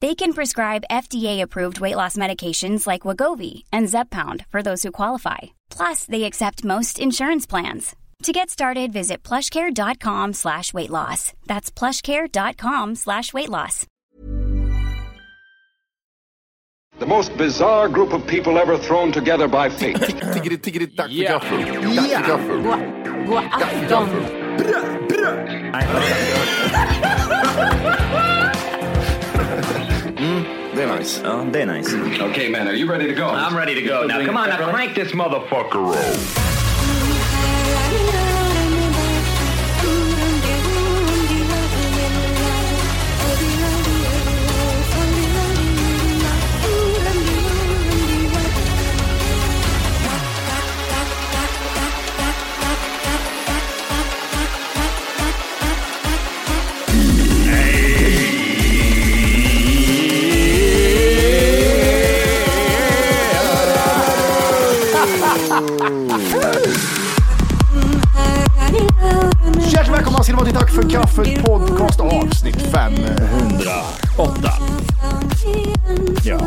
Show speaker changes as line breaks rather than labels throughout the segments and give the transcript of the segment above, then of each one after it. They can prescribe FDA-approved weight loss medications like Wagovi and Zepbound for those who qualify. Plus, they accept most insurance plans. To get started, visit plushcare.com slash weight loss. That's plushcare.com slash weight loss.
The most bizarre group of people ever thrown together by fate.
Tiggeri, tiggeri, dags för
Ja.
gaffel. Dags för gaffel.
God afton.
Det är nice.
Ja, det är nice.
okay, man, are you ready to go?
I'm ready to go now. Come on, now crank this motherfucker up.
Hjärtligt välkomna ska ni vara till Tack för kaffet podcast avsnitt 500.
108. Ja.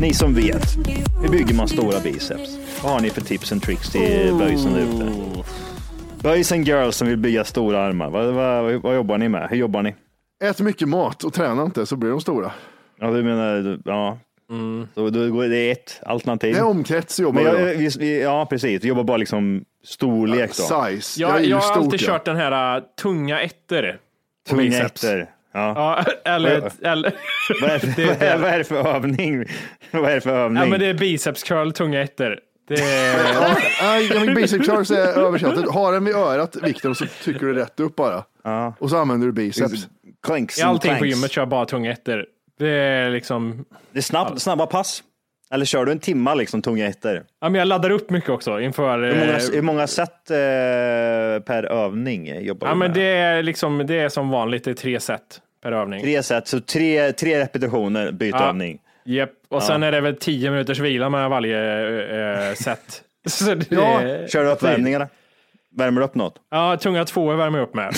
Ni som vet, hur bygger man stora biceps? Vad har ni för tips and tricks till böjsen där ute? Boys and girls som vill bygga stora armar, vad, vad, vad jobbar ni med? Hur jobbar ni?
Ät mycket mat och träna inte så blir de stora.
Ja, du menar, ja. Så då går det är ett alternativ.
Det är omkrets jobbar
Men jag,
jag.
vi, vi, ja, precis. Vi jobbar bara liksom storlek då.
Size.
Jag,
är ju
jag har alltid
ja.
kört den här äh, tunga ettor. på
Tunga
biceps.
ettor. Ja.
Ja, eller... eller
Vad, är, det,
det,
vad, är,
det,
vad är det för övning? Vad är det för övning?
ja, men det är biceps curl, tunga ettor. Det är,
Ja, nej, jag menar, basic charge är översättet. Ha den vid örat, vikten, så trycker du rätt upp bara.
Ja.
Och så använder du biceps.
Clanks
I
and
allting på
clanks.
gymmet kör jag bara tunga ettor. Det är liksom...
Det är snabb, snabba pass. Eller kör du en timma liksom tunga ettor?
Ja, men jag laddar upp mycket också inför...
Hur många,
eh,
hur många set eh, per övning jobbar
Ja,
du
men
med?
det är liksom, det är som vanligt, det är tre set per övning.
Tre set, så tre, tre repetitioner, byt
Ja.
övning.
Japp, och sen är det väl tio minuters vila med varje eh, set. Så det,
Ja.
Kör du uppvärmningarna? Värmer du upp något?
ja, tunga tvåor värmer jag upp med.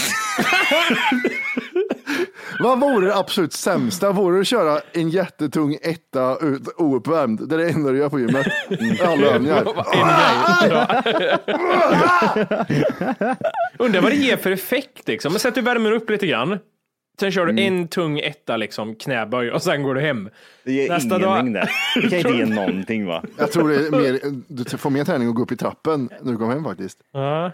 Vad vore det absolut sämsta? Vore det att köra en jättetung etta ut, ouppvärmd? Det är det enda du gör på gymmet. Alla övningar.
Undrar vad det ger för effekt liksom. Men så att du värmer upp lite grann. Sen kör du en tung etta liksom, knäböj och sen går du hem.
Det ger
Nästa
ingen
dag.
mängd där. Det kan inte ge någonting va?
Jag tror det är mer, du får mer träning att gå upp i trappen när du kommer hem faktiskt.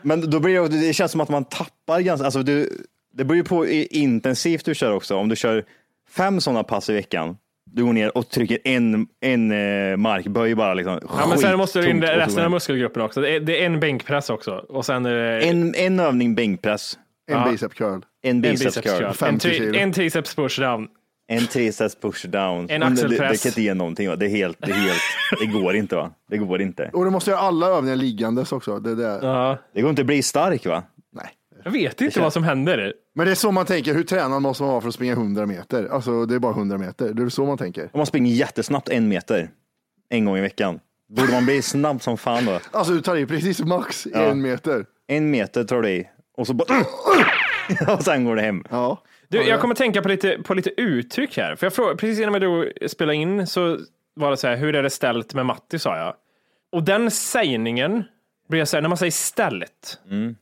Men då blir det, det känns som att man tappar ganska, alltså du, det beror ju på hur intensivt du kör också. Om du kör fem sådana pass i veckan, du går ner och trycker en, en eh, markböj bara. Liksom.
Ja, men sen måste du in
Skittungt, och så går
resten
du
av
hem.
muskelgruppen också. Det är, det är en bänkpress också. Och sen är det en,
En, en övning bänkpress,
En bicep curl.
en biceps
biceps curl.
curl,
En,
50 kilo.
tri- en triceps pushdown.
en triceps push down.
En
Men det- Det, det
axelpress.
kan inte ge någonting. Va? Det, är helt, det, är helt, det går inte. va? Det går inte.
Och du måste göra alla övningar liggandes också. Det, är det.
Ja.
Det går inte att bli stark va?
Nej.
Jag vet inte vad som händer.
Men det är så man tänker. Hur tränad måste man vara för att springa 100 meter? Alltså det är bara 100 meter. Det är så man tänker.
Om man springer jättesnabbt en meter en gång i veckan, borde man bli snabb som fan då?
Alltså du tar i precis max i en meter.
En meter tar du i och så bara... och sen går det hem.
Ja.
Du, jag kommer tänka på lite, på lite uttryck här. För jag frågade, precis innan du spelade in så var det så här, hur är det ställt med Matti, sa jag. Och den sägningen blir jag så här, när man säger ställt,
Mm.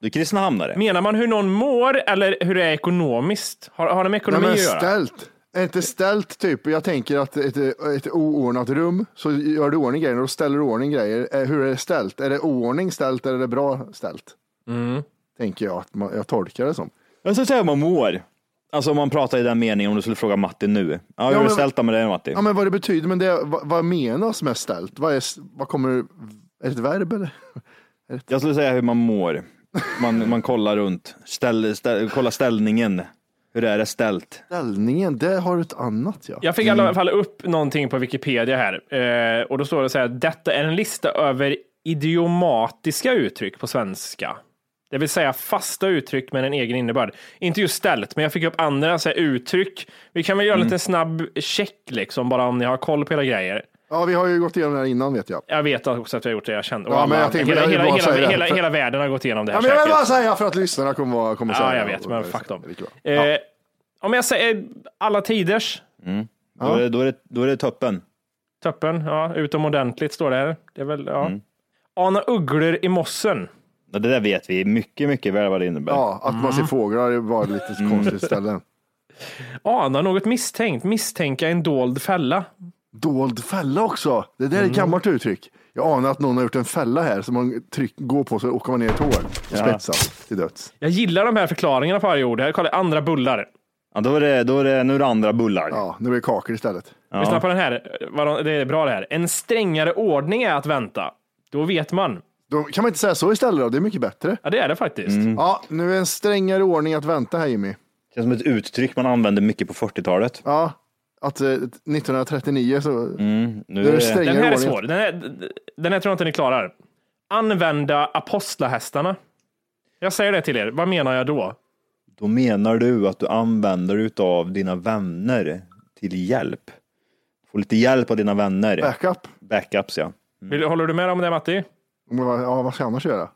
Du är kristinehamnare.
menar man hur någon mår eller hur det är ekonomiskt? Har, har det med
Nej,
ekonomi
men
att göra?
ställt. Är inte ställt typ, jag tänker att ett, ett oordnat rum så gör du ordning grejer och ställer du ordning grejer. Eh, Hur är det ställt? Är det oordning ställt eller är det
Mm.
bra ställt? Tänker jag att man, jag tolkar det som.
Jag ska säga hur man mår. Alltså om man pratar i den meningen, om du skulle fråga Matti nu. Ja, hur har
men-
du ställt dig med det Matti?
Ja, men vad det betyder, men det, vad, vad menas med ställt? Vad, är, vad kommer, är det ett verb eller?
Jag skulle säga hur man mår. Man, man kollar runt, ställ, ställ, kollar ställningen. Hur är det ställt?
Ställningen, det har du ett annat ja.
Jag fick i alla fall upp någonting på Wikipedia här eh, och då står det så här. Detta är en lista över idiomatiska uttryck på svenska. Det vill säga fasta uttryck med en egen innebörd. Inte just ställt, men jag fick upp andra så här, uttryck. Vi kan väl göra en
Mm.
liten snabb check liksom, bara om ni har koll på era grejer.
Ja, vi har ju gått igenom det här innan vet jag.
Jag vet också att jag har gjort det, jag kände.
Ja, men jag tänkte-
hela,
jag vill
hela,
bara
hela,
säga det,
hela,
för-
hela världen har gått igenom det här.
Ja, men jag vill
säkert.
bara säga för att lyssnarna kommer, vara- kommer säga
Ja, jag
det.
vet, men fuck dem.
Det är bra.
Eh, Om jag säger alla tiders,
Då, är det, då, är det, då är det toppen.
Töppen, ja, utomordentligt står det här. Det är väl, ja.
Mm.
Ana ugglor i mossen.
Ja, Det där vet vi mycket, mycket väl vad det innebär.
Ja, att man ser
mm.
fåglar är bara lite konstigt ställe.
Ana något misstänkt, misstänka en dold fälla.
Dold fälla också. Det där är ett
Mm.
gammalt uttryck. Jag anar att någon har gjort en fälla här som man tryck, går på så åker man ner i tår. Spetsat till döds.
Jag gillar de här förklaringarna på varje ord. Här kollar jag andra bullar.
Ja, då är det, då är det, nu är det andra bullar.
Ja, nu blir det kakor istället.
Lyssna på den här. Vad de- Det är bra det här. En strängare ordning är att vänta. Då vet man.
Då kan man inte säga så istället då? Det är mycket bättre.
Ja, det är det faktiskt.
Mm.
Ja, nu är en strängare ordning att vänta här Jimmy.
Det känns som ett uttryck man använde mycket på 40-talet.
Ja, att eh, 1939 så...
Nu
Det är
är det-
strängare
Den här är
ordning.
svår. Den här, den här tror jag inte ni klarar. Använda apostlahästarna. Jag säger det till er. Vad menar jag då?
Då menar du att du använder utav dina vänner till hjälp. Få lite hjälp av dina vänner.
Backup.
Backups ja.
Vill, håller du med om det Matti?
Mm.
Ja, vad ska jag annars göra?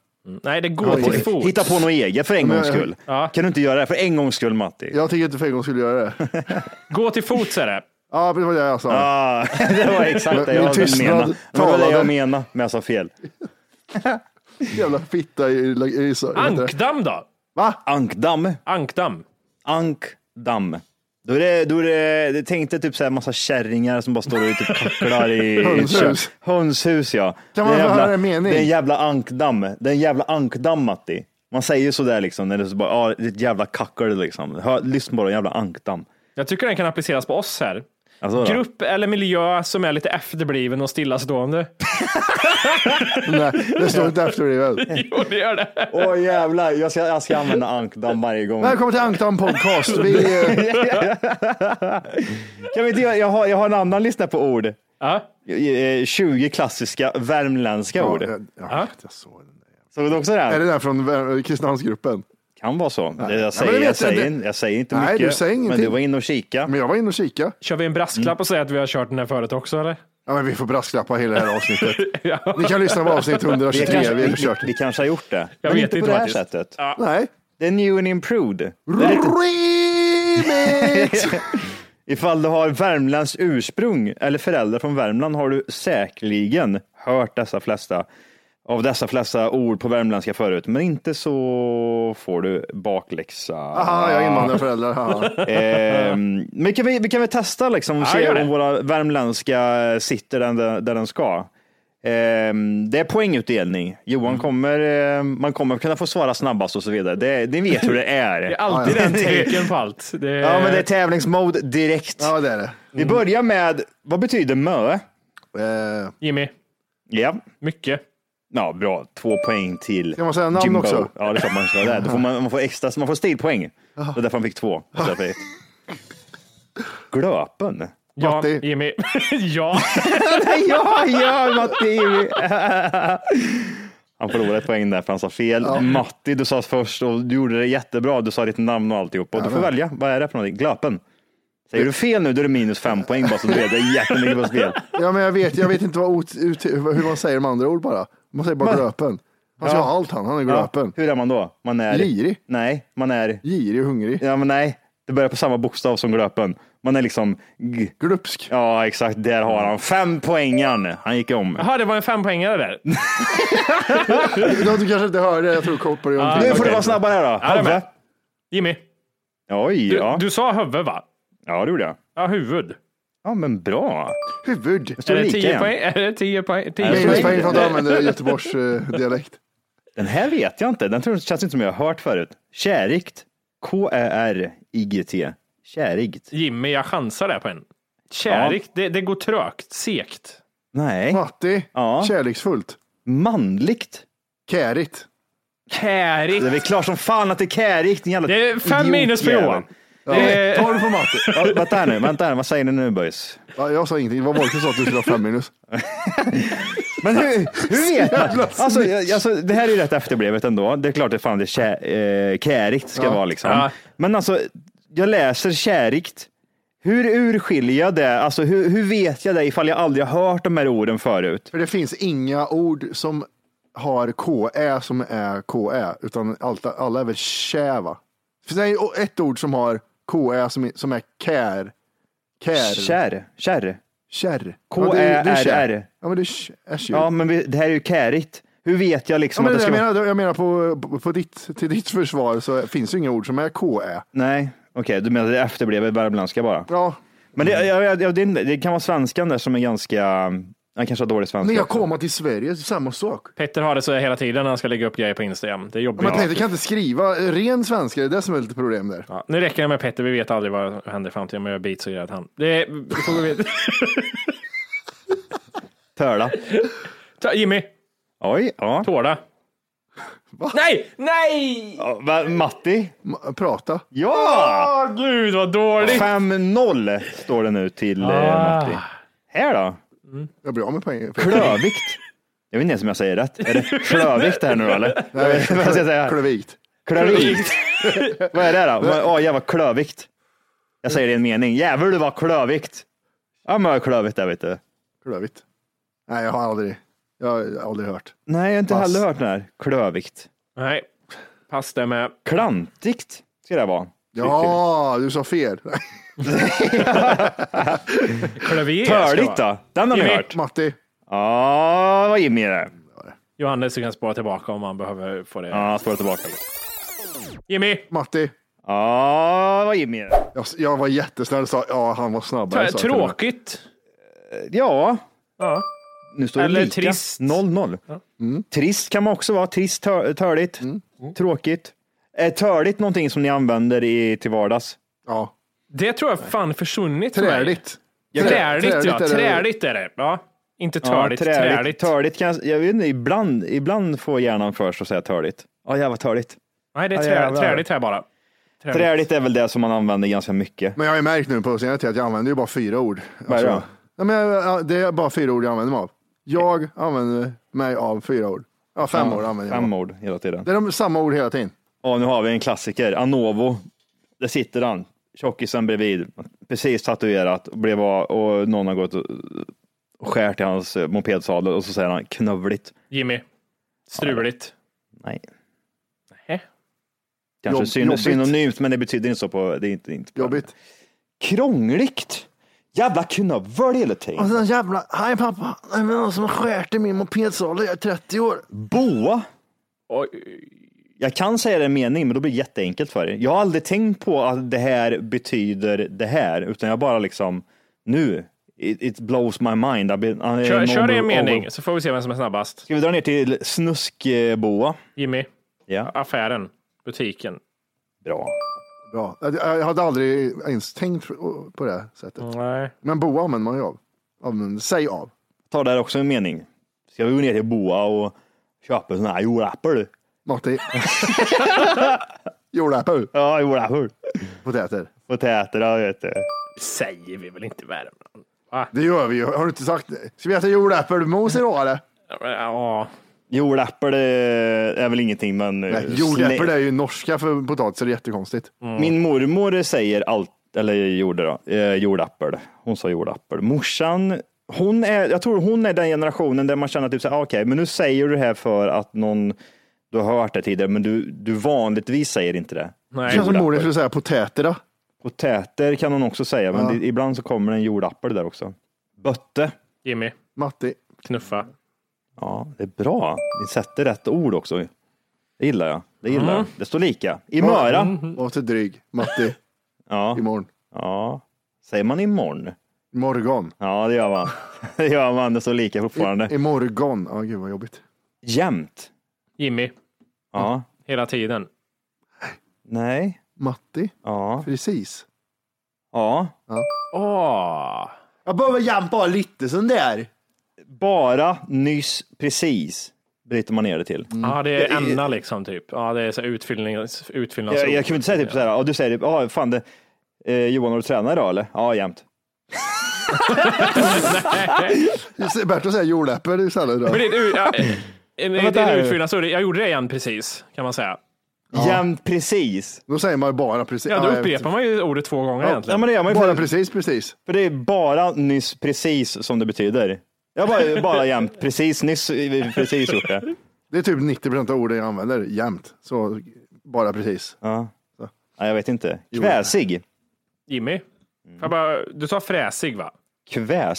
Nej, det går
Oj.
till fots.
Hitta på något eget för en gångs skull.
Ja.
Kan du inte göra det för en gångs skull Matti?
Jag tycker inte för en gång skulle göra det.
Gå till fots är det.
Ja, det var det jag sa.
Ah, det var exakt det
Min
jag
tystnad
menade. Det var det
talade.
jag menade, men jag sa fel.
Jävla fitta i... i, i så- vad heter det?
Ankdamm då?
Va?
Ankdamm.
Ankdamm.
Ankdamm. Då är det, då är det, det tänkte typ så här massa kärringar som bara står och typ kacklar i
Hönshus.
i- Hönshus ja.
Kan
Det är
man
jävla-
höra en mening?
Det är en jävla ankdamm. Det är en jävla ankdamm Matti. Man säger ju sådär liksom när det är så bara, ja, det är ett jävla kackel liksom. Hör, lyssna bara, en jävla ankdamm.
Jag tycker den kan appliceras på oss här.
Alltså, då.
Grupp eller miljö som är lite efterbliven och stillastående.
Nej, det står inte efter det väl.
jo, det gör det.
Åh jävlar, jag ska, jag ska använda ankdamm varje gång.
Välkommen till Ankdam podcast. Vi, eh,
Kan vi inte, göra- jag, har, jag har en annan lista på ord.
Ja.
Eh, 20 klassiska värmländska ord.
Ja, ja, jag såg den.
Såg du också det?
Är
Här?
det den från Vä- Kristinehamnsgruppen?
kan vara så. Det
men
jag, säger,
det vet
jag,
jag
säger,
inte.
jag säger inte
Nej,
mycket.
du säger
men
ingenting.
du var inne och kika.
Men jag var inne och kika.
Kör vi en brasklapp och säger att vi har kört den här förut också? Eller?
Ja, men vi får brasklappa hela det här avsnittet. Ni kan lyssna på avsnitt 123. Vi
kanske,
har
vi,
kört.
vi, vi kanske har gjort det.
Jag
men
vet
inte på
inte
det här
faktiskt.
sättet.
Nej.
Det är new and improved. Det är lite,
Remix!
ifall du har värmländskt ursprung eller föräldrar från Värmland har du säkerligen hört dessa flesta av dessa flesta ord på värmländska förut, men inte så får du bakläxa.
Aha, jag har invandrarföräldrar. haha.
Ehm, men kan vi, vi kan väl testa liksom och
Ja,
se
gör det.
om våra värmländska sitter där, där den ska. Ehm, det är poängutdelning. Johan
Mm.
kommer, eh, man kommer kunna få svara snabbast och så vidare. Det, ni vet hur det är.
Det är alltid den tecken på allt. Det är,
Ja, men det är tävlingsmode direkt.
Ja, det är det.
Vi
Mm.
börjar med, vad betyder mö?
Eh,
Jimmy,
Ja,
mycket.
ja bra. Två poäng till
Kan man säga namn
Jimbo.
också?
Ja, det är klart man ska. Där. Då får man, man får extra, man får stilpoäng. Det var därför han fick två. Så att det- Glöpen.
Ja,
Matti.
Jimmy. ja.
Ja, ja, Matti! Han förlorade ett poäng där för han sa fel. Matti, du sa först och du gjorde det jättebra. Du sa ditt namn och alltihop. Och du får välja. Vad är det för någonting? Glöpen. Säger du fel nu, då är det minus fem poäng bara så du vet. Det är jättemycket på spel.
ja, men jag vet, jag vet inte vad ot, ut, hur man säger de andra ord bara. Man säger bara
Men-
glöpen. Han ska
Ja.
ha allt han, han är
Ja,
glöpen.
Hur är man då? Man är...
Girig.
Nej, man är...
Girig och hungrig.
Ja, men nej. Det börjar på samma bokstav som glöpen. Man är liksom... G...
Glupsk.
Ja, exakt. Där har han. Fem poängen. Han gick om.
Jaha, det var en fempoängare där.
De du kanske inte hörde, jag tror kort på det.
Nu får
Ah,
du vara snabbare här då.
Ja, jag är med.
Hove.
Jimmy,
Oj,
du,
ja.
du sa huvud va?
Ja, det gjorde jag.
Ja, huvud.
Ja, men bra.
Huvud.
Det står
Är det
lika
tio
igen.
poäng? Är det tio poäng? Tio
Nej,
poäng?
Minuspoäng för att du använder Göteborgs eh, dialekt.
Den här vet jag inte. Den tror, känns inte som jag har hört förut. Kärikt. K-Ä-R-I-G-T. Kärigt.
Jimmy, jag chansar där på en. Kärigt, det, det går trögt, segt.
Nej.
Matti,
Ja.
kärleksfullt.
Manligt.
Kärigt.
Kärigt.
Det är väl klart som fan att det är kärigt. din jävla
Det är fem
idiot
minus för
jävel.
Johan.
Ja,
Det-
12 på Matti.
Ja, Vänta här nu, vänta här. Vad säger ni nu boys?
Ja, jag sa ingenting. Det var Wolke som sa att du skulle ha fem minus.
Men hur, hur vet man? Alltså, jag- alltså, det här är ju rätt efterblivet ändå. Det är klart det fan det är kä- eh, kärigt ska vara liksom.
Ja.
Men alltså, jag läser kärigt. Hur urskiljer jag det? Alltså, hur, hur vet jag det ifall jag aldrig har hört de här orden förut?
För det finns inga ord som har KE som är KE, utan allt, alla är väl kä, va? Finns det en- ett ord som har KE som, är- som är kär? Kär?
Kär, kär.
Kär.
K-Ä-R-R.
Ja, det är- det är kär. Ja, men det är kä- är ju.
Ja, men vi- det här är ju kärigt. Hur vet jag
Ja,
liksom
men det
att
där
det
jag
ska vara...
menar, jag menar på, på, på ditt, till ditt försvar så finns ju inga ord som är KE.
Nej, okej, du menar det är efterblivet värmländska bara?
Ja,
Men det, jag, jag, jag, det, är- det kan vara svenskan där som är ganska... Han kanske har dålig svenska.
när jag
också.
kommer till Sverige, samma sak.
Petter har det så hela tiden när han ska lägga upp grejer på Instagram. Det är
Men
jobbigt.
jag tänkte, jag kan inte skriva ren svenska, det är det som är lite problem där.
Ja, nu räcker det med Petter, vi vet aldrig vad som händer i framtiden med beats och grejer. att Han. Det är, vi får gå vidare.
Töla.
Ta, Jimmy,
Oj, ja.
tåla. Nej, nej!
Ja, va, Matti?
Ma- Prata.
Ja!
Åh gud vad dåligt.
5-0 står det nu till eh, Matti. Här då?
Jag blir av med poäng.
Klövikt. Jag vet inte ens om jag säger rätt. Är det klövikt här nu då, eller? Jag vet inte Vad ska jag säga?
Klövigt.
Klövikt. Vad är det då? Vad- Åh, jävla klövikt. Jag säger det i en mening. Jävlar du var klövikt. Ja, men vad är klövigt där vet du.
Klövigt. Nej, jag har aldrig, jag har aldrig hört.
Nej, jag har inte
Pass.
heller hört den här. Klövikt.
Nej, pass där med.
Klantigt ska det vara.
Ja, du sa fel.
Klavier ska
Törligt
vara.
då? Den har ni
Jimmy.
hört.
Matti,
Ja, vad Jimmy är det.
Johannes, du kan spara tillbaka om man behöver få det.
Ja, står det tillbaka.
Jimmy,
Matti.
Ja, vad Jimmy är det.
Jag, jag var jättesnäll och sa ja, han var snabbare. sa jag till och med.
tråkigt.
Ja,
Ja.
nu står det
Eller
lika.
trist.
0-0. Trist kan man också vara. Trist, tör, törligt,
Mm.
tråkigt. Är törligt någonting som ni använder i, till vardags?
Ja,
Det tror jag fan försvunnit för mig.
träligt.
Träligt, ja.
är det.
Träligt är det. Ja. Inte törligt, träligt.
törligt kan jag, jag vet inte, ibland, ibland får hjärnan för sig att säga törligt. Ja, jävla törligt.
Nej, det är
Ja,
trä,
jävlar.
träligt här bara. Träligt.
Träligt är väl det som man använder ganska mycket.
Men jag har ju märkt nu på senare tid att jag använder ju bara fyra ord.
Vad är det då?
nej, men jag- ja, det är bara fyra ord jag använder mig av. Jag använder mig av fyra ord. Ja, fem ord använder jag
Fem
mig av.
ord hela tiden.
Det är de samma ord hela tiden.
Ja, nu har vi en klassiker. Anovo. Där sitter han, tjockisen bredvid. Precis tatuerat. Och, blev av, och någon har gått och och skärt i hans eh, mopedsadel och så säger han knövligt.
Jimmy, struligt.
Nej,
Nej.
kanske
Jobb-
syn-
jobbigt.
synonymt, men det betyder inte så. på... Det är inte, inte
Jobbigt.
Krångligt. Jävla knövvel hela tiden.
den jävla, hej pappa, det är någon som har skärt i min mopedsadel, jag är 30 år.
Boa.
Oj,
Jag kan säga det i en mening, men då blir det jätteenkelt för er. Jag har aldrig tänkt på att det här betyder det här, utan jag bara liksom nu. It, it blows my mind. I've been- I'm
Kör, kör det i
over-
en mening
over-
så får vi se vem som är snabbast.
Ska vi dra ner till snuskboa?
Jimmy,
Ja.
affären, butiken.
Bra.
Bra. Jag- Jag hade aldrig ens tänkt på det här sättet.
Nej.
Men boa använder man ju av. Använder sig av.
Ta där också en mening. Ska vi gå ner till boa och köpa sån här jordäppel?
Matti. Jordäppel.
Ja, jordäppel.
Potäter.
Potäter, ja, vet du.
Säger vi väl inte i Värmland?
Det gör vi ju. Har du inte sagt det? Ska vi äta jordäppelmos idag eller?
Ja, men, Ja,
Jordäppel eh, är väl ingenting, men... eh,
Nej, jordäppel
slä-
är ju norska för potatis. Det är jättekonstigt.
Min mormor säger allt, eller gjorde då, eh, jordäppel. Hon sa jordäppel. Morsan, hon är, jag tror hon är den generationen där man känner typ så här, ah, okej, men nu säger du det här för att någon, du har hört det tidigare, men du, du vanligtvis säger inte det.
Det
nej.
känns som mor skulle säga potätera.
Potäter kan hon också säga, men det, ibland så kommer det en jordappel där också. Bötte.
Jimmy,
Matti.
knuffa.
Ja, det är bra. Ni sätter rätt ord också. Det gillar jag. Det gillar jag. Det står lika. I Möra.
Var inte dryg. Matti.
Ja,
Imorgon.
ja. Säger man imorgon?
Morgon.
Ja, det gör man. Det gör man. Det står lika fortfarande.
Imorgon. Ja, gud vad jobbigt.
Jämt.
Jimmy,
Ja.
hela tiden.
Nej.
Matti.
Ja.
Precis.
ja.
Åh.
Jag behöver jämpa lite sån där.
Bara, nyss, precis bryter man ner det till.
Ja, det är ämna liksom typ. Ja, det är så här utfyllnads, utfyllnadsord.
Mm. Jag, jag kan väl inte säga typ så här, ja, du säger, ja, fan det, eh, Johan har du tränat idag eller? Ja, jämt.
Det är Bättre att säga jordäpple istället. Då.
Men det är ett ut- ja, en- det
vänta
är
här.
ett utfyllnadsord. Jag gjorde det igen precis, kan man säga.
Jämt precis.
då säger man ju bara precis.
Ja, då
jag vet.
upprepar man ju ordet två gånger
Ja,
egentligen.
men det gör man ju
Bara
för,
precis, precis.
för det är bara nyss precis som det betyder. Jag bara, bara jämt precis, nyss eh, precis gjort det.
Det är typ 90 procent av orden jag använder jämt. Så bara precis.
Ja. Ja, jag vet inte. Kväsig.
Jimmy, jag bara, du sa fräsig va?
Kväs.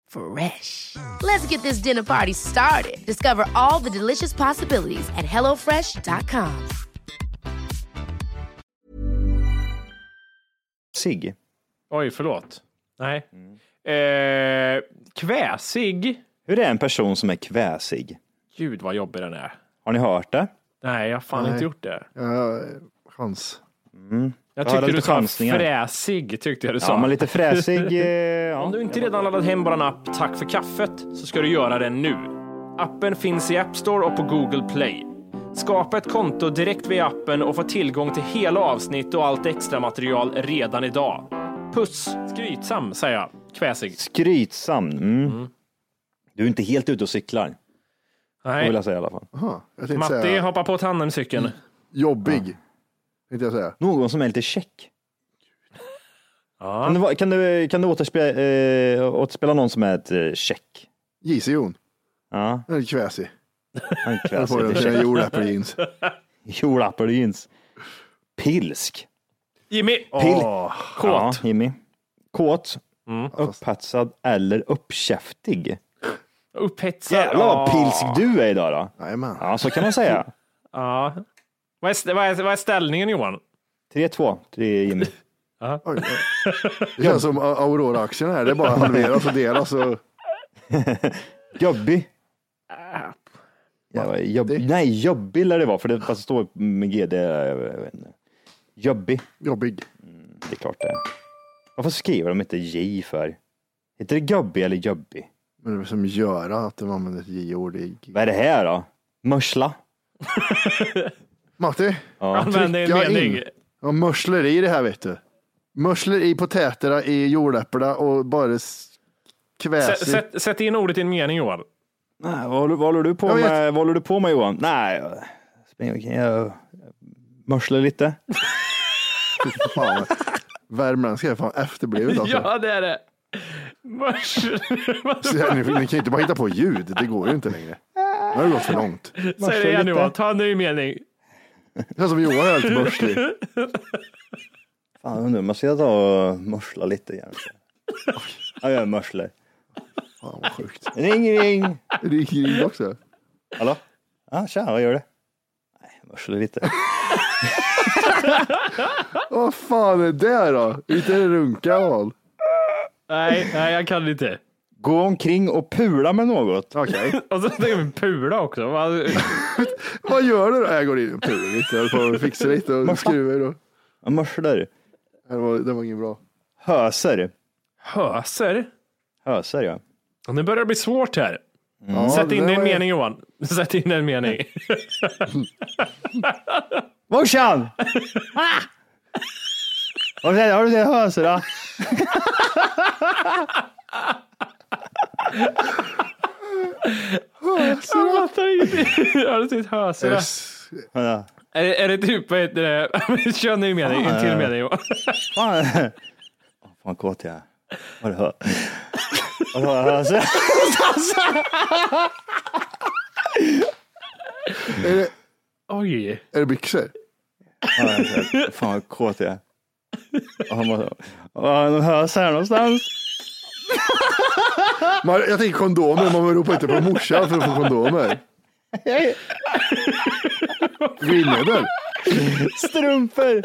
Fresh. Let's get this dinner party started. Discover all the delicious possibilities at hellofresh.com.
Sig.
Oj, förlåt. Nej. Eh, kväsig.
Hur är en person som är kväsig?
Gud vad jobbig den är.
Har ni hört det?
Nej, jag har fan
Nej.
inte gjort det.
Ja, chans.
Jag
Ja, det är
tyckte
lite
du sa
chansningar.
fräsig, tyckte jag du sa.
Ja, men lite fräsig. eh,
Om
Ja.
du inte redan laddat hem vår app Tack för kaffet så ska du göra det nu. Appen finns i App Store och på Google Play. Skapa ett konto direkt via appen och få tillgång till hela avsnitt och allt extra material redan idag. Puss! Skrytsam, säger jag. Kväsig.
Skrytsam. Mm. Du är inte helt ute och cyklar, det vill alltså
Nej.
jag säga i alla fall.
Aha, jag tänkte
Matti
säga
hoppar på tandemcykeln.
jobbig. Tänkte jag säga.
Någon som är lite check. Kan
Ja.
du, va- kan du, kan du återspela, eh, återspela någon som är ett eh, check?
JC-Jon.
Ja,
Eller kväsig.
han
Jag
kväser
får den
lite
sina
check.
jordäppeljeans.
Jolapperjeans. Pilsk.
Jimmy!
Pil Ja,
Kåt. Mm.
Jimmy. Kåt. Upphetsad eller uppkäftig.
Upphetsad.
Jävlar vad
Ja.
pilsk du är idag då.
Jajamän.
Ja, så kan man säga.
Ja. Vad är, st- vad, är, vad är ställningen Johan?
3-2 till Jimmy.
Oj, oj. Det känns som A- Aurora-aktien här. Det är bara halveras och delas. Och...
Jobbig. Jävlar, jobb... Nej, jobbig lär det vara, för det fast det står med GD. jag vet inte. Jobbig,
Jobbig.
det är klart det. är. Varför skriver de inte J för? Heter det jobbig eller jobbig?
Men det är som göra att de använder ett J-ord i...
Vad är det här då? Mörsla?
Matti,
Använd en
trycka
mening.
in. Ja, mörsler i det här vet du. Mörsler i potäterna, i jordäpplena och bara s-
Sä-
kväsigt.
Sätt, sätt in ordet i en mening Johan.
Nej, vad, håller, vad, håller du på
Jag vet.
med, vad håller du på med Johan? Nej, jag springer omkring, jag mörslar lite.
Fan. Värmländska är fan efterblivet alltså.
Ja, det är det. Mörsel.
Så här, ni, ni kan ju inte bara hitta på ljud, det går ju inte längre. Nu har det gått för långt.
Säg det igen Johan, ta en ny mening.
Det känns som Johan är helt börslig.
Fan, nu måste jag ta och mörsla lite. igen. Ja, jag mörslar.
Fan vad sjukt.
Ring, ring!
Det gick in också.
Hallå? Ja, tja, vad gör du? Nej, jag mörslar lite.
Vad fan är det då? Inte är det runka val.
Nej, nej, jag kan inte.
Gå omkring och pula med något.
Okej.
Och så tänker vi pula också. Vad-
Vad gör du då? Jag går in och pular lite. Jag håller på att fixa lite och skruvar. Och...
Mörslar.
Det, var, det var inget bra.
Höser.
Höser?
Höser ja.
Och nu börjar det bli svårt här.
Ja,
Sätt in
det
en
var-
mening Johan. Sätt in en mening.
Morsan! Ah! Har du sett- har du sett höser? Då?
Jag fattar ingenting. Har du sett höser?
Yes.
Ja.
Är, det- är det typ, vad heter det? Kör en ny mening, en till mening Johan.
Fan, Åh, fan kåt jag är. Har du hört? Har du hört höser?
Är, det,
Oj.
är det byxor?
Ja, jag har sett. Fan vad kåt jag är. Och han bara, "Var är de höser någonstans?
Man, jag tänker kondomer. Man ropar inte på morsan för att få kondomer. Glidmedel.
Strumpor!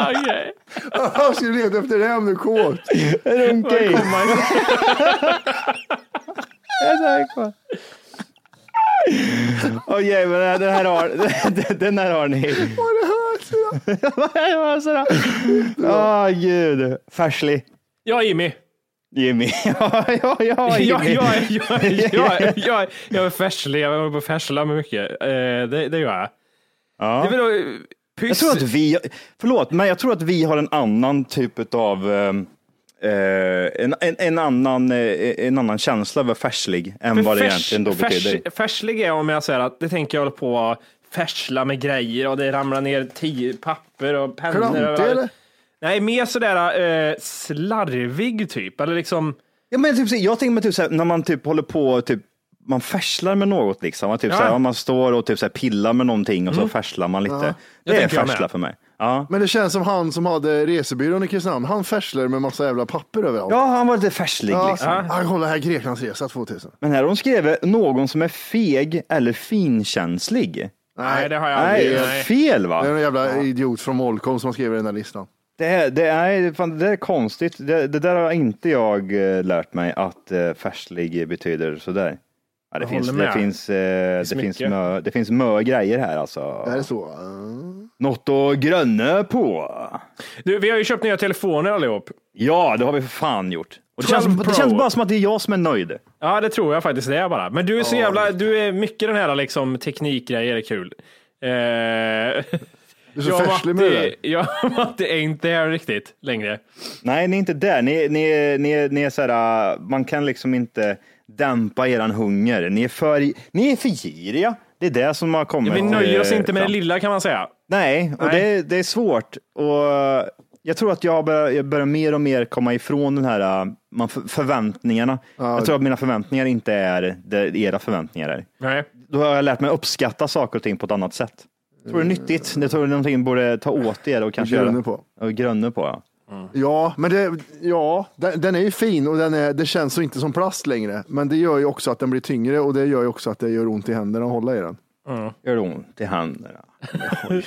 Okej.
Jag skulle leta efter det om du är kåt.
Runka i! Jag är så här kåt. Okej, men den här har, den här har ni. Vad är höser då? Åh gud. Färslig.
Ja, Jimmy.
Jimmy. Ja, ja, ja,
Jag,
Jimmy.
jag, jag, jag, jag, jag är färslig, jag håller på att färsla med mycket. Eh, det, det gör jag.
Ja.
Det är väl då, eh, pyss.
Jag tror att vi, förlåt, men jag tror att vi har en annan typ av en, en, en, annan, eh, en annan känsla över färslig än
För
vad det
färs-
egentligen då
färs-
betyder.
Färslig är om jag säger att det tänker jag hålla på och färsla med grejer och det ramlar ner tio papper och pennor. överallt.
Klantig eller?
Nej, mer sådär eh, slarvig typ. Eller liksom,
Ja, men typ, så- jag tänker mig typ så här, när man typ håller på och typ man färslar med något liksom. Man, typ
Ja. Mm.
så här, ja, man står och typ så här pillar med någonting och så färslar man lite. Det är
tänker jag
färsla
med.
för mig. Ja.
Men det känns som han som hade resebyrån i Kristinehamn. Han färslar med massa jävla papper överallt.
ja, han var lite färslig
Ja,
liksom.
Han kollar här Greklandsresa 2000.
Men här har de skrivit någon som är feg eller finkänslig.
nej, det har jag aldrig.
Nej,
Nej.
fel va?
Det är en jävla idiot från Molkom som har skrivit den där listan.
Det, här, det, är, fan, det där är konstigt. Det, det där har inte jag eh, lärt mig att eh, färslig betyder sådär. Ja, det,
Jag
finns,
håller
det,
med.
finns, eh, det, finns
mycket.
mö, det finns mö grejer här alltså.
Det här är så. eh,
Något att grönna på.
Du, vi har ju köpt nya telefoner allihop.
Ja, det har vi för fan gjort. Och det, känns,
12
det
Pro.
känns bara som att det är jag som är nöjd.
Ja, det tror jag faktiskt det är bara. Men du är så jävla, du är mycket den här liksom teknikgrejer är kul. Eh,
Du är så färslig med det där.
Ja, Matti är inte här riktigt längre.
Nej, ni är inte där. Ni, ni, ni, ni är såhär, man kan liksom inte dämpa eran hunger. Ni är för, ni är för giriga. Det är det som har kommit.
Vi nöjer oss
eh,
inte med det
fram.
lilla kan man säga.
Nej, och
Nej.
Det, det är svårt. Och jag tror att jag börjar, jag börjar mer och mer komma ifrån den här äh, man, för- förväntningarna. Jag tror att mina förväntningar inte är det era förväntningar är.
Nej.
Då har jag lärt mig uppskatta saker och ting på ett annat sätt. Jag tror det är nyttigt. Jag tror det är någonting ni borde ta åt er och kanske
Grönne
göra-
på.
Och grönne på. Ja.
Ja, men det, ja, den, den är ju fin och den är, det känns så inte som plast längre. Men det gör ju också att den blir tyngre och det gör ju också att det gör ont i händerna att hålla i den.
Gör det ont i händerna? Oj.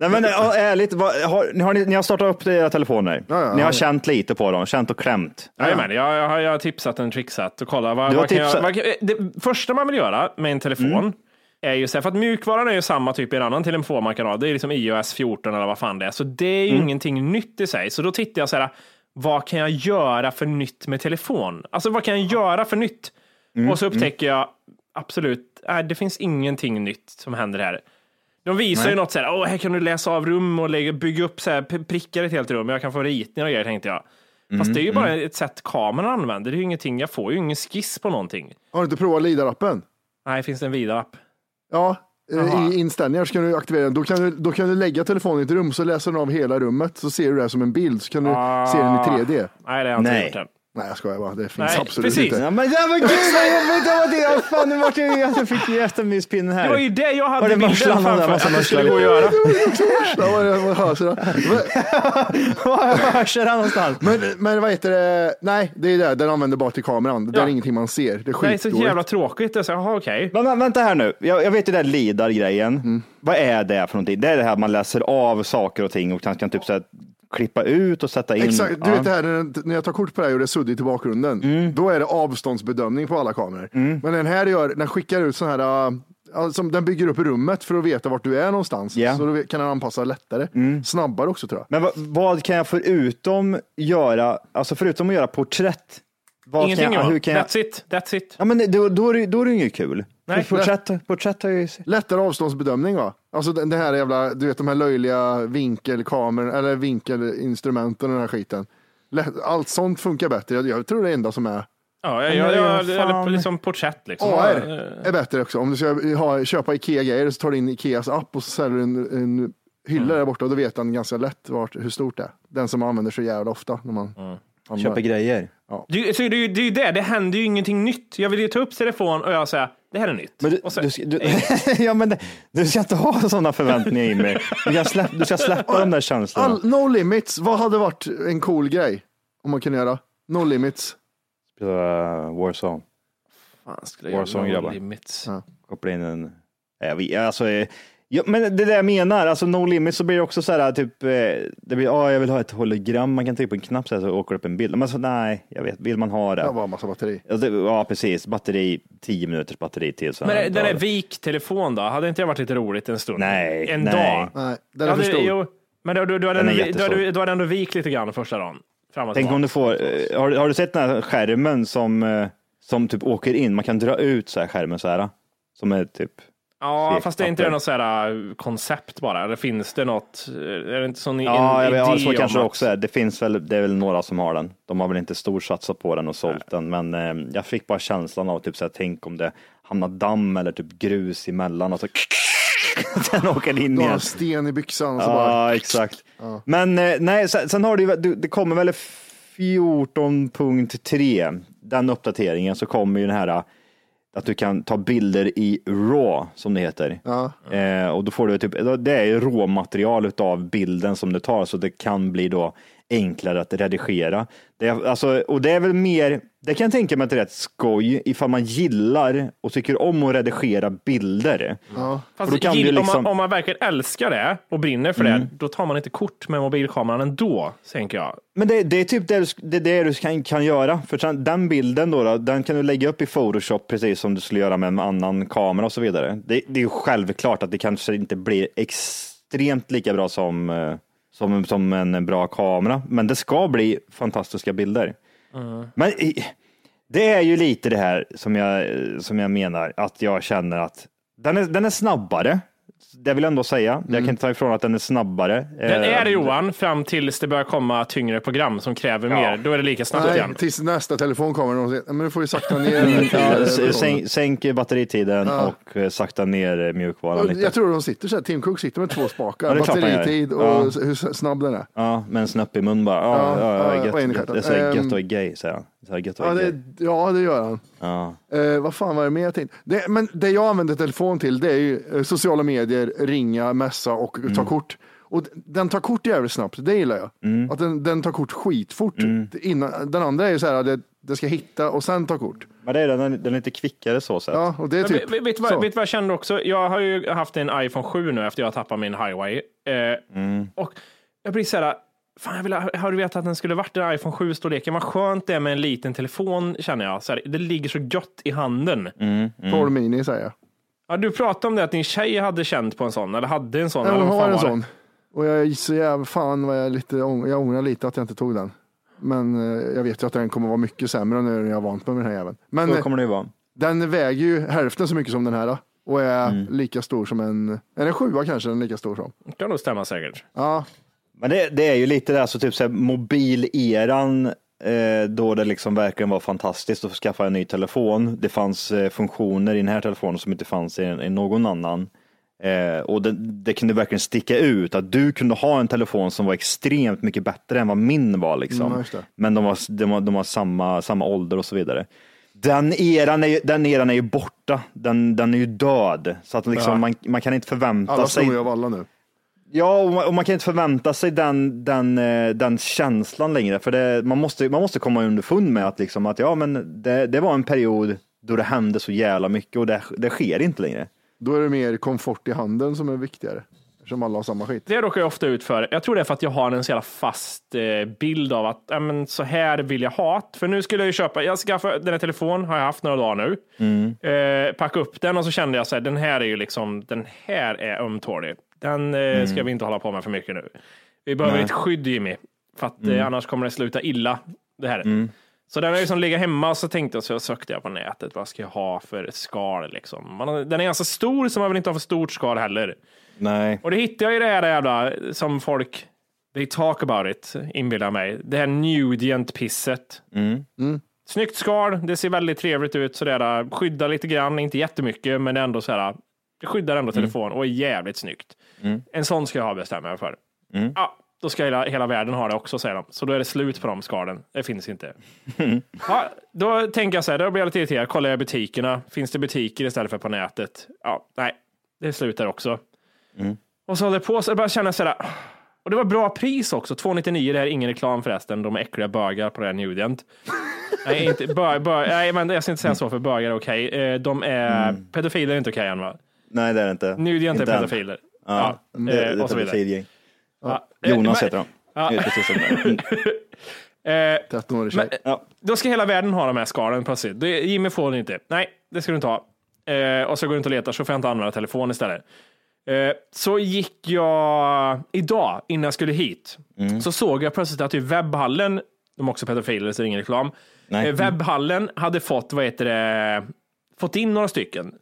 Nej, men, ja, ärligt, vad, har, har ni, ni har startat upp era telefoner.
Ja, ja,
ni har
ja.
känt lite på dem, känt och klämt.
Jajamän, jag, jag, har- jag har tipsat och trixat och kollat. Vad,
Du har
vad kan jag,
tipsat. Mm.
vad, kan- eh, det första man vill göra med en telefon är ju så här, för att mjukvaran är ju samma typ i en annan telefon man kan ha. Det är liksom iOS 14 eller vad fan det är. Så det är ju
Mm.
ingenting nytt i sig. Så då tittar jag så här, vad kan jag göra för nytt med telefon? Alltså vad kan jag göra för nytt?
Mm,
Och så upptäcker jag absolut, nej, det finns ingenting nytt som händer här. De visar ju något så här, Åh, här kan du läsa av rum och lägga, bygga upp så här, p- prickar i ett helt rum. Jag kan få ritningar och grejer tänkte jag. Fast det är ju
Mm,
bara ett sätt kameran använder. Det är ju ingenting, jag får ju ingen skiss på någonting.
Har du inte provat Lidar-appen?
Nej, finns det en vidare app?
Ja, eh, i inställningar så kan du aktivera den. Då kan du, då kan du lägga telefonen i ett rum så läser den av hela rummet så ser du det som en bild så kan du
Ah.
se den i 3D.
Nej, det har jag inte
Nej.
gjort än.
Nej, jag skojar bara. Det finns
Nej,
absolut
precis.
inte.
Ja, men det var gud vad jobbigt det var det. Ja, Fan, nu vart jag, jag fick ju eftermyspinne här.
Det var ju det jag
Var
hade
det
bilden
musslan och den
framför
massa
att det skulle gå
musslan?
att göra.
Ja, vad är det- vad hörs det då? Men-
Var hörs det någonstans?
Men, men vad heter det? Nej, det är det. Den använder bara till kameran. Det
Ja.
är ingenting man ser. Det är
Nej, så
skitdåligt.
jävla tråkigt. Jag sa, jaha, okej.
Men, men, vänta här nu, jag, jag vet ju den här Mm. lidar-grejen. Vad är det för någonting? Det är det här att man läser av saker och ting och kan, kan typ så här, klippa ut och sätta in.
Exakt, du
ja. Mm.
vet det här när- när jag tar kort på det här och det är suddigt i bakgrunden. Då är det avståndsbedömning på alla kameror. Men den här gör, den skickar ut sån här, äh, alltså, den bygger upp rummet för att veta vart du är någonstans.
Ja. Mm.
Så då kan den anpassa lättare. Snabbare också tror jag.
Men vad, vad kan jag förutom göra, alltså förutom att göra porträtt? Vad
Ingenting
kan jag,
Johan.
hur kan jag,
That's it. That's it.
Ja, men det- då, då, är det, då är det inget kul.
Nej.
För porträtt, porträtt har ju...
Lättare avståndsbedömning va? Alltså den, det här jävla, du vet de här löjliga vinkelkamerorna, eller vinkelinstrumenten och den här skiten. Lätt, allt sånt funkar bättre. Jag, jag tror det enda som är
Ja, jag, jag, jag,
Men fan.
eller liksom porträtt liksom.
AR
Eh,
är bättre också. Om du ska ha, köpa Ikea-grejer så tar du in Ikeas app och så säljer du en, en hylla
Mm.
där borta och då vet han ganska lätt vart, hur stort det är. Den som använder så jävla ofta. När man
Mm.
handlar.
Köpa grejer.
Det, så det, är ju- det är ju det, det händer ju ingenting nytt. Jag vill ju ta upp telefon och jag säger, det här är nytt.
Men du,
och så,
du, ska- du, ja, men det- du ska inte ha sådana förväntningar i mig. Du, kan släpp, du ska släppa de där känslorna.
All, no limits, vad hade varit en cool grej om man kunde göra? No limits.
Spela uh, Warzone.
fan skulle jag
Warzone,
göra
grabbar.
no limits.
Ja.
Koppla in en... Jag vet, alltså, eh, ja, men det är det jag menar, alltså No Limit så blir det också så här typ, eh, det blir, ah, jag vill ha ett hologram, man kan trycka på en knapp så, här, så åker det upp en bild. Men så, nej, jag vet, vill man ha det?
Det var en massa batteri.
Ja, det- Ja, precis. Batteri, 10 minuters batteri till. Så här
Men den där
dagar.
viktelefon då, hade inte det varit lite roligt en stund?
Nej,
En
nej.
dag?
Nej, den är
Ja,
för
det-
stor.
jo, men då, då, då, hade
Den
den
är
vi- då,
jättestor.
hade vi- då hade den vikt lite grann första dagen. Fram och
Tänk
tillbaka.
om du får, eh, har, har du sett den här skärmen som, eh, som typ åker in? Man kan dra ut så här skärmen så här. Som är typ,
Ja,
Fegt
fast det är inte
papper.
det något så här äh, koncept bara? Eller finns det något? äh, Är det inte sån
ja,
en,
jag vet, ja
idé
så
om
kanske det
att-
också är. Det finns väl, det är väl några som har den. De har väl inte storsatsat på den och sålt den, men eh, jag fick bara känslan av typ så här, tänk om det hamnar damm eller typ grus emellan och så den åker in
Du har
igen.
en sten i byxan och så bara,
Ja, exakt. Men eh, nej, sen, sen har du, ju- du- det kommer väl 14.3, den uppdateringen, så kommer ju den här eh, att du kan ta bilder i RAW som det heter. Eh, och då får du typ, det är ju råmaterial utav bilden som du tar så det kan bli då enklare att redigera. Det är, alltså, och det är väl mer, det kan jag tänka mig att det är rätt skoj ifall man gillar och tycker om att redigera bilder.
Fast
För då kan
gill-
du liksom- Mm.
om, man, om man verkligen älskar det och brinner för det, då tar man inte kort med mobilkameran ändå, tänker jag.
Men det, det är typ det du, sk- det, det du kan, kan göra. För sen, den bilden då, då, den kan du lägga upp i Photoshop precis som du skulle göra med en annan kamera och så vidare. Det, det är ju självklart att det kanske inte blir extremt lika bra som, eh, som, som en bra kamera, men det ska bli fantastiska bilder. Men i- det är ju lite det här som jag, eh, som jag menar, att jag känner att den är, den är snabbare. Det vill jag ändå säga. Jag kan inte ta ifrån att den är snabbare.
Mm. Den
Eh,
är det Johan, fram tills det börjar komma tyngre program som kräver mer. Då är det lika snabbt
nej,
igen.
tills nästa telefon kommer. Och de säger, men du får ju sakta ner. den här
Ja,
telefonen."
s- sänk, sänk batteritiden och eh, sakta ner eh, mjukvaran lite.
Jag tror de sitter så här, Tim Cook sitter med två spakar,
Ja, det är klart han gör.
batteritid och
Ja.
hur snabb den är.
Ja, med en snäpp i mun bara. Ja,
Ja,
ja,
ja,
ja,
och en i
gött, gött,
stjärten.
det är så här gött
Ehm,
att vara gay, säger han. Så här gött att
Ja,
vara gay.
det, ja, det gör han.
Ja.
Eh, vad fan var det mer jag tänkte? Det, men det jag använder telefon till det är ju eh, sociala medier, ringa, messa och
Mm.
ta kort. Och d- den tar kort jävligt snabbt, det gillar jag.
Mm.
Att den, den tar kort skitfort. Det- Innan, den andra är ju så här, det, det ska hitta och sen ta kort.
Men det är, den, den är lite kvickare så sett.
Ja, och det är
Men
typ
vet- vet,
så.
du vad, vet du vad jag kände också? Jag har ju haft en iPhone 7 nu efter jag tappat min Highway. Eh,
Mm.
Och jag blir så här, fan jag vill, ha- har du vetat att den skulle varit en iPhone 7-storleken? Vad skönt det är med en liten telefon känner jag. Så här, det ligger så gött i handen.
Mm.
Mm.
12 mini säger jag.
Ja, du pratade om det att din tjej hade känt på en sån, eller hade en sån.
Nej,
eller
hon
vad fan
har en
var det?
sån. Och jag är så jävla, fan vad jag är lite, ång- jag ångrar lite att jag inte tog den. Men eh, jag vet ju att den kommer vara mycket sämre nu när jag är vant med den här jäveln. Men
Så
eh,
kommer det ju vara.
Den väger ju hälften så mycket som den här och är lika stor som en, är det en sjua kanske den är lika stor som.
Det kan nog stämma säkert.
Ja,
Men det, det är ju lite det, här, så typ så här, mobileran eh, då det liksom verkligen var fantastiskt att skaffa en ny telefon. Det fanns eh, funktioner i den här telefonen som inte fanns i, i någon annan. Eh, och det, det kunde verkligen sticka ut att du kunde ha en telefon som var extremt mycket bättre än vad min var. Liksom.
Mm, just det.
Men de var, de var, de var samma, samma ålder och så vidare. Den eran är, ju- den eran är ju borta, den, den är ju död. Så att liksom, man, man kan inte förvänta
alla
sig
snor ju av alla nu.
Ja, och man, och man kan inte förvänta sig den, den, eh, den känslan längre. För det, man, måste, man måste komma underfund med att, liksom, att ja, men det, det var en period då det hände så jävla mycket och det, det sker inte längre.
Då är det mer komfort i handen som är viktigare. Som alla har samma skit.
Det råkar jag ofta ut för. Jag tror det är för att jag har en så jävla fast eh, bild av att ja, men så här vill jag ha det. För nu skulle jag ju köpa, jag skaffade den här telefonen, har jag haft några dagar nu. Eh, packa upp den och så kände jag så här, den här är ju liksom, den här är ömtålig. Den eh, ska vi inte hålla på med för mycket nu. Vi behöver ett skydd Jimmy, för att eh, annars kommer det sluta illa. Det här. Så den har ju liksom legat hemma och så tänkte jag, så sökte jag på nätet, vad ska jag ha för skal liksom? Man, har- den är ganska stor så man vill inte ha för stort skal heller.
Nej.
Och det hittade jag ju det här jävla som folk, they talk about it, inbillar mig. Det här nudient-pisset. Snyggt skal, det ser väldigt trevligt ut, sådär, skyddar lite grann, inte jättemycket, men det är ändå sådär, det skyddar ändå telefonen och är jävligt snyggt. En sån ska jag ha bestämmer jag för. Ja, då ska hela, hela världen ha det också, säger de. Så då är det slut på de skalen. Det finns inte. Ja, då tänker jag så här, då blir jag lite irriterad. Kollar jag i butikerna, finns det butiker istället för på nätet? Ja, nej, det slutar också. Och så håller det på, så jag bara känner så här. Och det var bra pris också, 299, det här är ingen reklam förresten, de är äckliga bögar på det här Nudient. nej, inte, bö, bö, nej, men jag ska inte säga så för bögar är okej. Eh, De är, pedofiler är inte okej än va?
Nej, det är det inte.
Nudient är
Mm. Inte än.
pedofiler.
Ja, Mm.
Ja,
det,
eh,
det
och så
är
vidare.
pedofilgäng.
Ja, eh,
Jonas
men-
heter han.
Ja.
Det är precis som det.
Eh,
13-årig tjej.
Ja.
Då ska hela världen ha de här skalen plötsligt. Det, Jimmy får den inte. Nej, det ska du inte ha. Eh, och så går du inte och letar så får jag inte använda telefon istället. Eh, så gick jag idag innan jag skulle hit. Så såg jag plötsligt att i webbhallen, de är också pedofiler så det är ingen reklam.
Nej.
Eh, webbhallen hade fått, vad heter det, fått in några stycken.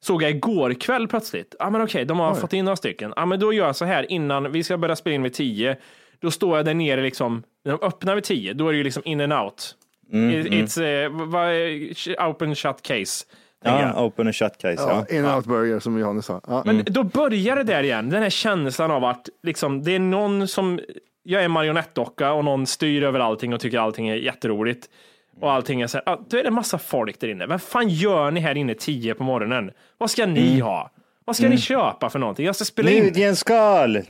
Såg jag igår kväll plötsligt. Ja ah, men okej, de har fått in några stycken. Ja ah, men då gör jag så här innan vi ska börja spela in vid tio. Då står jag där nere liksom, när de öppnar vid tio, då är det ju liksom in and out. It- It's eh, vad- vad är- open shut case. tänker jag.
Ja, open and shut case. Ja.
Ja, in and out burger som Johannes sa. Ja.
Då börjar det där igen, den här känslan av att liksom, det är någon som, jag är en marionettdocka och någon styr över allting och tycker allting är jätteroligt. Och allting är så här, ah, då är det en massa folk där inne. Vad fan gör ni här inne tio på morgonen? Vad ska ni ha? Vad ska ni köpa för någonting? Jag ska spela in.
Nudjenskal!
Ja,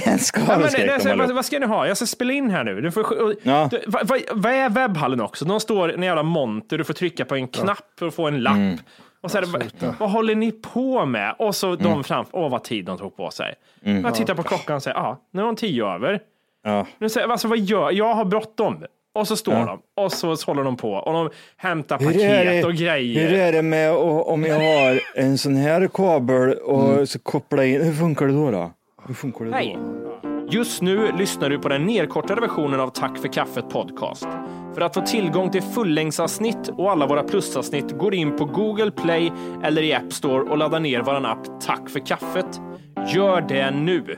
Nudjenskal
men,
skrek
nej,
de.
så, vad,
eller?
vad ska ni ha? Jag ska spela in här nu. Du får, och,
Ja.
du, vad, vad, vad är webbhallen också? De står i en jävla monter, du får trycka på en knapp för att få en lapp.
Mm.
Och så är det, vad, vad håller ni på med? Och så
Mm.
de framför, åh vad tid de tog på sig. Jag tittar på klockan och säger, ja, nu är de tio över.
Ja.
Nu säger, jag, alltså, vad gör, jag har bråttom. Och så står de och så håller de på och de hämtar
Hur är det-
paket och grejer.
Hur är det med o- om jag har en sån här kabel och
Mm.
så kopplar jag in, hur funkar det då? då? Hur funkar det
Hej!
då?
Just nu lyssnar du på den nedkortade versionen av Tack för kaffet podcast. För att få tillgång till fullängdsavsnitt och alla våra plusavsnitt går in på Google Play eller i App Store och laddar ner vår app Tack för kaffet. Gör det nu!